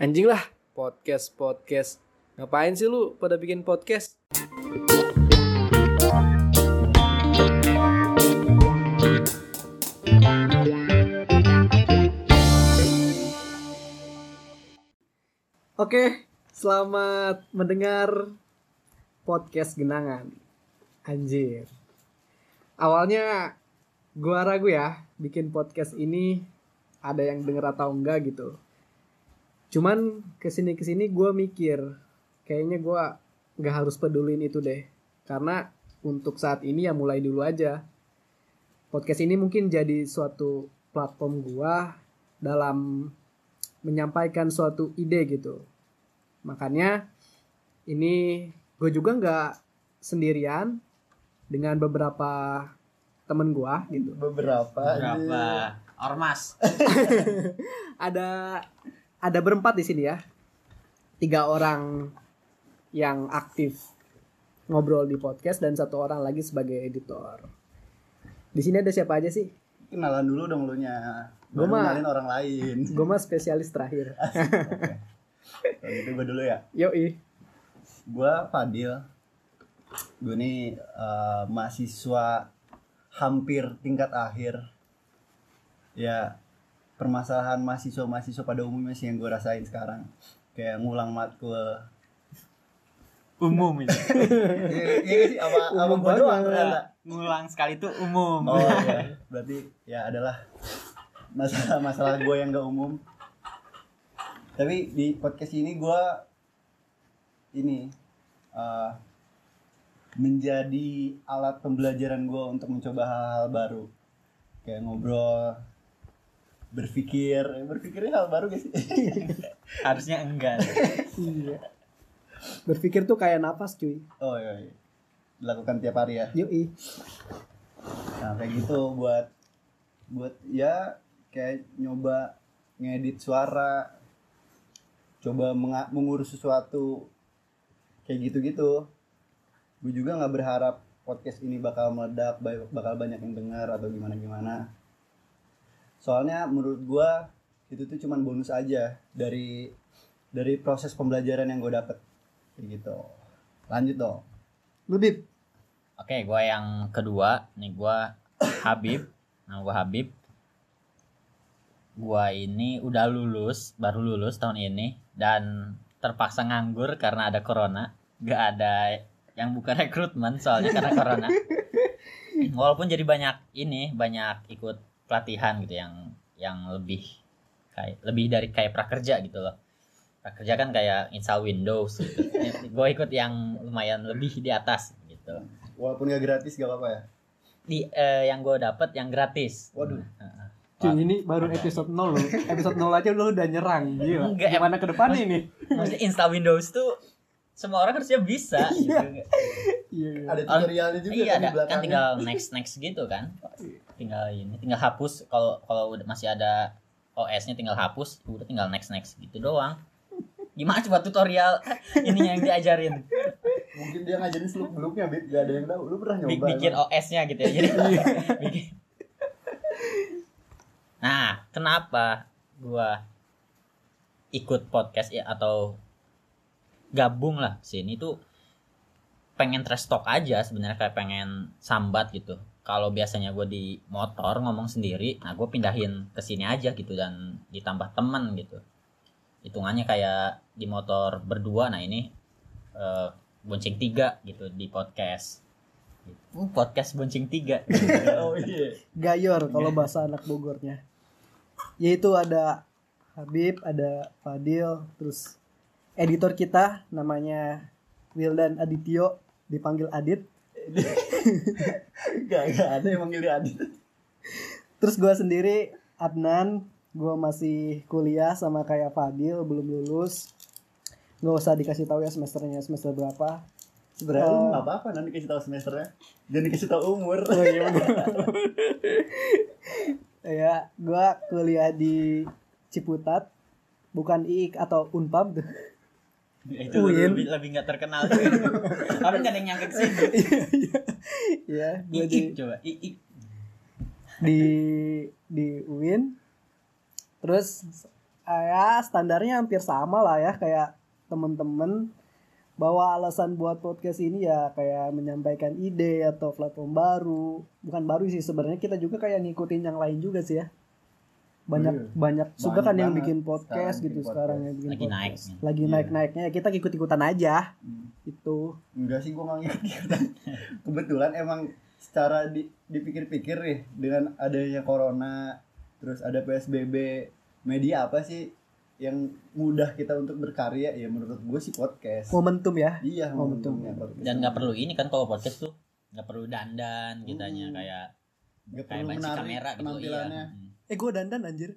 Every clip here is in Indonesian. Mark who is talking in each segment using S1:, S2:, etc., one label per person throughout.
S1: Anjing lah, podcast podcast. Ngapain sih lu pada bikin podcast?
S2: Oke, selamat mendengar podcast genangan. Anjir. Awalnya gua ragu ya bikin podcast ini ada yang denger atau enggak gitu. Cuman kesini kesini gua mikir kayaknya gua nggak harus peduliin itu deh. Karena untuk saat ini ya mulai dulu aja. Podcast ini mungkin jadi suatu platform gua dalam menyampaikan suatu ide gitu. Makanya ini gue juga nggak sendirian dengan beberapa temen gue gitu.
S3: beberapa
S4: berapa ormas
S2: Ada ada berempat di sini ya. Tiga orang yang aktif ngobrol di podcast dan satu orang lagi sebagai editor. Di sini ada siapa aja sih?
S3: kenalan dulu dong lu nya
S2: Gua
S3: baru
S2: mah-
S3: kenalin orang lain
S2: Gue mah spesialis terakhir.
S3: Kalau gitu gue dulu ya
S2: Yoi.
S3: gue Fadil gue nih eh, mahasiswa hampir tingkat akhir ya permasalahan mahasiswa mahasiswa pada umumnya sih yang gue rasain sekarang kayak ngulang matkul
S4: umum itu
S3: iya iya gak sih apa apa
S2: Umum
S3: gue doang
S2: banget.
S3: ternyata
S4: ngulang sekali itu umum
S3: Oh iya. berarti ya adalah masalah-masalah gue yang gak umum. Tapi di podcast ini gue ini eh, menjadi alat pembelajaran gue untuk mencoba hal-hal baru, kayak ngobrol, berpikir, Eh, berpikirnya hal baru gak sih?
S4: harusnya enggak
S2: Iya. Berpikir tuh kayak napas cuy.
S3: oh iya, iya. dilakukan tiap hari ya.
S2: Yoi.
S3: Nah kayak gitu buat buat ya kayak nyoba ngedit suara, coba menga- mengurus sesuatu kayak gitu-gitu. Gue juga nggak berharap podcast ini bakal meledak, ba- bakal banyak yang dengar atau gimana gimana. Soalnya menurut gua itu tuh cuman bonus aja dari dari proses pembelajaran yang gue dapet kayak gitu. Lanjut dong.
S2: Lebih.
S4: oke gua yang kedua nih gua Habib nama gua Habib gua ini udah lulus baru lulus tahun ini dan terpaksa nganggur karena ada corona gak ada yang bukan rekrutmen soalnya karena corona walaupun jadi banyak ini banyak ikut pelatihan gitu yang yang lebih kayak lebih dari kayak prakerja gitu loh prakerja kan kayak install Windows gitu gue ikut yang lumayan lebih di atas gitu
S3: Walaupun gak gratis gak apa-apa ya.
S4: di eh, yang gue dapet yang gratis Nah,
S3: Waduh.
S2: Cuy ini baru episode 0 loh. Episode 0 aja lu udah nyerang gila.
S4: Enggak,
S2: Gimana ke depan ini?
S4: Maksudnya install Windows tuh semua orang harusnya bisa gitu.
S2: Iya. iya.
S3: Ada tutorialnya juga kan di
S4: iya ada, kan
S3: belakangnya.
S4: tinggal next next gitu kan tinggal ini tinggal hapus kalau kalau udah masih ada OS-nya tinggal hapus udah tinggal next next gitu doang gimana coba tutorial ininya yang diajarin
S3: mungkin dia ngajarin seluk beluknya bit gak ada yang tahu lu pernah nyoba
S4: Bi- bikin
S3: emang?
S4: OS-nya gitu ya. Jadi bikin. Nah, kenapa gua ikut podcast ya atau gabung lah sini tuh pengen trash talk aja sebenarnya kayak pengen sambat gitu. Kalau biasanya gue di motor ngomong sendiri, nah gue pindahin ke sini aja gitu dan ditambah teman gitu. Hitungannya kayak di motor berdua, nah ini eh, bonceng tiga gitu di podcast. Uh, podcast bonceng tiga
S3: oh iya
S2: Gayor kalau bahasa anak Bogornya. Yaitu ada Habib, ada Fadil, terus editor kita namanya Wildan Adityo dipanggil Adit.
S3: gak, gak ada yang manggil dia adit
S2: Terus gua sendiri Adnan, gua masih kuliah sama kayak Fadil belum lulus. Nggak usah dikasih tahu ya semesternya semester berapa.
S3: sebenarnya lu
S2: Oh.
S3: nggak apa apa nanti kasih tahu semesternya dan dikasih tahu umur
S2: Oh, iya bener. ya, gua kuliah di Ciputat, bukan IIK atau Unpad tuh.
S4: itu
S2: Win.
S4: lebih lebih nggak terkenal tapi nggak ada yang nyangka kesini
S3: Iya,
S2: ya, gua
S4: iik
S2: di
S4: coba iik
S2: di di UIN. Terus ah, ya standarnya hampir sama lah ya kayak temen-temen bahwa alasan buat podcast ini ya kayak menyampaikan ide atau platform baru bukan baru sih sebenarnya kita juga kayak ngikutin yang lain juga sih ya banyak
S3: Iya.
S2: banyak juga
S3: Banyak
S2: kan yang
S3: banget
S2: bikin podcast
S3: sekarang
S2: gitu
S3: bikin
S2: sekarang
S3: podcast.
S2: yang bikin
S4: Lagi
S2: podcast
S4: naiknya.
S2: lagi
S3: Iya.
S2: naik naiknya kita ikut ikutan aja gitu.
S3: Hmm.
S2: itu
S3: Enggak sih gue nggak ngikutin. Kebetulan emang secara di, dipikir-pikir nih dengan adanya corona, terus ada PSBB, media apa sih yang mudah kita untuk berkarya ya menurut gue sih podcast.
S2: momentum ya
S3: Iya,
S2: Momentum.
S3: momentumnya podcast.
S4: dan nggak perlu ini kan kalau podcast tuh nggak perlu dandan kitanya
S3: Hmm.
S4: kayak
S3: Nggak
S4: kayak
S3: perlu
S4: banci
S3: menarik
S4: kamera gitu iya
S3: penampilannya.
S4: Mm.
S2: eh gue dandan anjir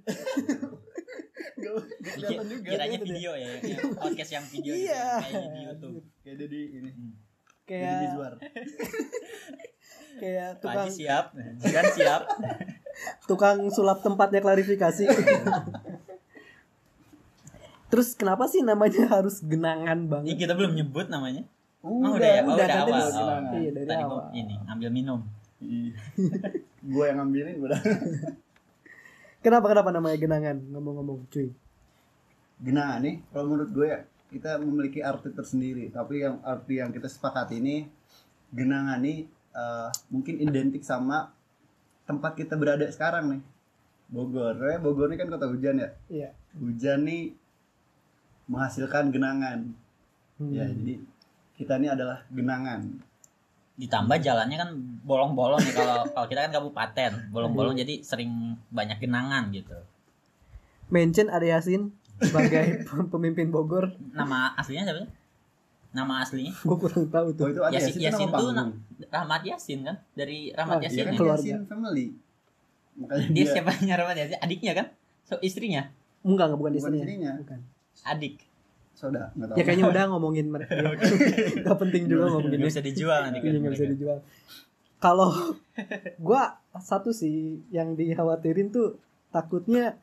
S3: Nggak nggak kelihatan juga.
S4: Iya, kiranya
S2: gitu deh.
S4: video ya yang podcast yang video Hmm. gitu,
S2: Iya.
S4: kayak di YouTube
S3: Kayak jadi ini, jadi
S2: kayak
S3: visual.
S2: kayak
S4: pagi
S2: tukang
S4: siap kan siap
S2: tukang sulap tempatnya klarifikasi terus kenapa sih namanya harus genangan
S4: Ih,
S2: banget
S4: kita belum nyebut namanya
S3: Udah,
S4: udah ya? Oh, udah
S2: kan
S4: awal.
S2: dari,
S4: Oh.
S2: iya, dari
S4: tadi
S2: awal
S4: mau ini ambil minum
S3: gue Iya. yang ngambilin udah.
S2: kenapa kenapa namanya genangan ngomong-ngomong cuy
S3: Nah nih, kalau menurut gue ya, kita memiliki arti tersendiri. Tapi yang arti yang kita sepakati ini, genangan nih eh, mungkin identik sama tempat kita berada sekarang nih. Bogor, Eh, Bogor ini kan kota hujan ya.
S2: Iya.
S3: Hujan nih menghasilkan genangan.
S2: Hmm.
S3: Ya, jadi kita ini adalah genangan.
S4: ditambah jalannya kan bolong-bolong nih kalau kalau kita kan kabupaten
S3: Iya.
S4: bolong-bolong jadi sering banyak genangan gitu
S2: mention Ari Yasin sebagai pem- pemimpin Bogor
S4: nama aslinya siapa sih nama aslinya
S2: gue kurang
S3: Oh
S2: tahu tuh
S3: itu ada Yasin,
S4: Yasin-
S3: itu
S4: Yasin
S3: nama
S4: tuh
S3: panggung.
S4: Rahmat Yasin kan dari Rahmat
S2: Oh,
S3: Iya kan
S4: Yasin ya?
S2: Keluarga.
S3: Yasin family. Makanya
S4: dia
S3: dia,
S4: siapanya Rahmat Yasin adiknya kan so istrinya
S2: enggak enggak bukan
S3: bukan
S2: istrinya
S3: istrinya.
S2: bukan
S4: adik
S3: Soda, nggak tahu.
S2: ya kayaknya udah ngomongin mereka gak penting juga ngomongin
S4: nggak bisa dijual nanti kan
S2: Iya nggak bisa
S4: mereka.
S2: dijual. Kalau gua satu sih yang dikhawatirin tuh takutnya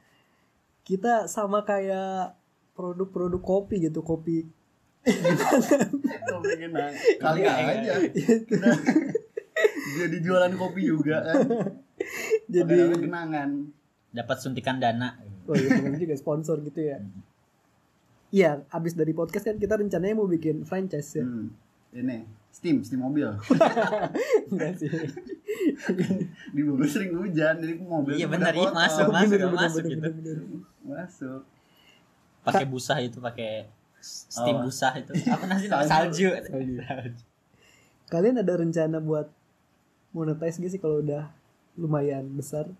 S2: kita sama kayak produk-produk kopi gitu kopi
S3: Kalau pengen nang- Kali
S4: Oh, Iya,
S3: aja.
S2: Gitu.
S3: Jadi jualan kopi juga kan. Jadi
S2: jadi
S3: kenangan.
S4: dapat suntikan dana
S2: oh iya bener juga sponsor gitu ya
S4: Hmm.
S2: iya abis dari podcast kan kita rencananya mau bikin franchise ya
S3: Hmm. Ini steam, steam mobil.
S2: enggak sih
S3: Di Bogor sering hujan, jadi mobil tuh
S4: Iya, benar,
S3: pada
S4: iya,
S3: kotor.
S4: masuk.
S2: Bener-bener,
S4: masuk
S2: bener-bener,
S4: gitu.
S2: bener-bener.
S3: Masuk.
S4: pakai busah itu pakai steam
S3: Oh.
S4: busah itu apa nasi namanya
S3: Salju.
S4: salju
S3: Salju.
S2: kalian ada rencana buat monetize gak sih kalau udah lumayan besar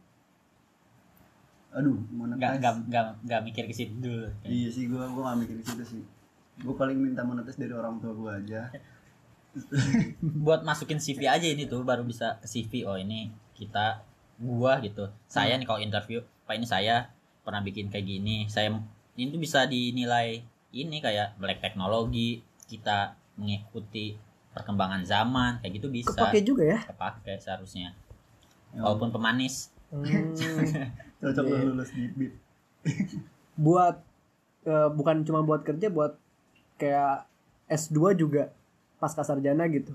S3: Aduh, mana
S4: nggak nggak nggak nggak mikir ke situ dulu
S3: Iya sih gua gua gak mikir ke situ sih. Gua paling minta monetis dari orang tua gua aja.
S4: buat masukin CV aja ini tuh baru bisa ke CV oh ini kita gua gitu saya nih
S2: Hmm.
S4: kalau interview pak ini saya pernah bikin kayak gini saya ini tuh bisa dinilai ini kayak black teknologi kita mengikuti perkembangan zaman kayak gitu bisa
S2: kepake juga ya
S4: kepake seharusnya
S3: Yang
S4: walaupun pemanis
S2: Hmm.
S3: cocok
S2: Iya.
S3: lu lulus di BIP.
S2: buat eh, bukan cuma buat kerja buat kayak S2 juga pasca sarjana gitu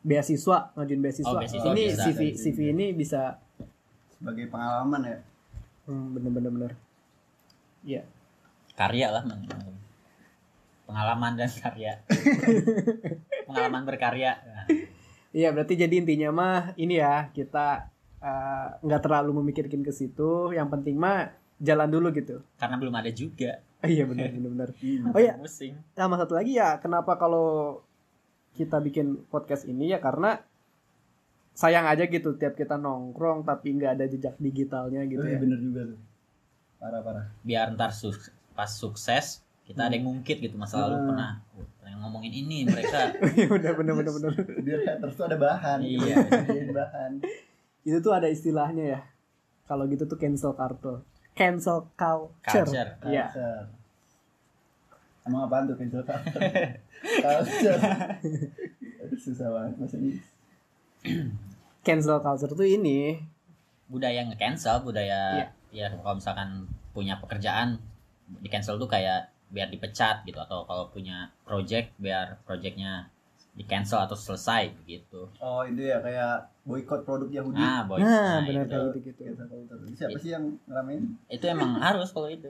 S2: beasiswa ngajuin
S4: Oh,
S2: beasiswa,
S4: beasiswa
S2: ini
S4: bisa.
S2: CV CV ini bisa
S3: sebagai pengalaman ya.
S2: hmm, bener bener bener ya
S4: karya lah men- pengalaman dan karya pengalaman berkarya
S2: iya berarti jadi intinya mah ini ya kita eh, nggak terlalu memikirkan ke situ yang penting mah jalan dulu gitu
S4: karena belum ada juga
S2: Ah, iya bener bener bener
S3: Hmm.
S2: Oh, iya.
S4: pusing
S2: sama satu lagi ya kenapa kalau kita bikin podcast ini ya karena sayang aja gitu tiap kita nongkrong tapi nggak ada jejak digitalnya gitu
S3: Oh, iya,
S2: ya.
S3: bener juga tuh. Parah-parah.
S4: biar ntar su- pas sukses kita ada yang ngungkit gitu masa lalu
S3: Hmm.
S4: pernah "Wah, pernah ngomongin ini mereka
S2: Iya udah bener bener bener.
S3: Biar haters tuh ada bahan.
S4: Iya.
S3: Jadi bahan.
S2: Itu tuh ada istilahnya ya. Kalau gitu tuh cancel culture. Cancel culture.
S4: culture
S2: Iya.
S3: Culture. Emang apaan tuh cancel culture? culture. Aduh, susah banget bahasa Inggris.
S2: Cancel culture tuh ini
S4: budaya nge-cancel budaya ya kalau misalkan punya pekerjaan di cancel tuh kayak biar dipecat gitu atau kalau punya project biar projectnya di cancel atau selesai begitu.
S3: Oh itu ya kayak boykot produk Yahudi.
S4: Nah, boy.
S2: Nah,
S4: nah,
S2: benar
S4: itu.
S2: kayak gitu-gitu.
S3: Kita tahu terus. Siapa sih yang ngeramein?
S4: itu emang harus kalau itu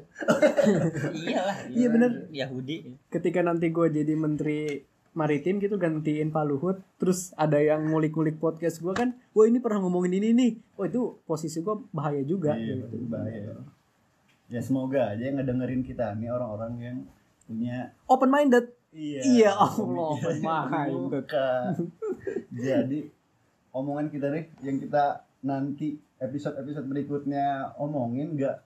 S4: iyalah
S2: Iya, bener.
S4: Yahudi
S2: Ketika nanti gue jadi menteri maritim gitu gantiin Pak Luhut, terus ada yang ngulik-ngulik podcast gue kan, wah ini pernah ngomongin ini nih, wah itu posisi gue bahaya juga.
S3: Iya,
S2: gitu.
S3: bahaya. Ya semoga aja yang ngedengerin kita nih orang-orang yang punya
S2: Open minded.
S3: iya
S2: Iya, Allah,
S3: pemikiran yang
S2: open-minded.
S3: terbuka. Jadi omongan kita nih yang kita nanti episode-episode berikutnya omongin nggak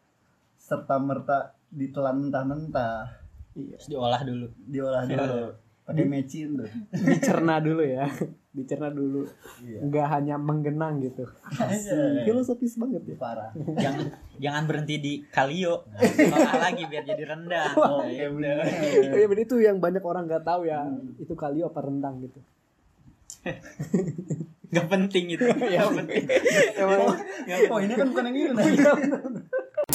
S3: serta merta ditelan mentah-mentah,
S2: Iya.
S4: terus diolah dulu
S3: diolah dulu pakai mecin tuh.
S2: Dicerna dulu ya, dicerna dulu.
S3: Iya.
S2: Nggak hanya menggenang gitu.
S3: Asik.
S2: Filosofis banget ya.
S3: Parah.
S4: jangan jangan berhenti di kalio olah lagi biar jadi rendang
S3: Oke, bener.
S2: Iya bener, itu yang banyak orang nggak tahu ya. Itu kalio apa rendang gitu.
S4: nggak penting itu nggak penting
S2: Emang
S3: Oh ini kan bukan yang itu nah.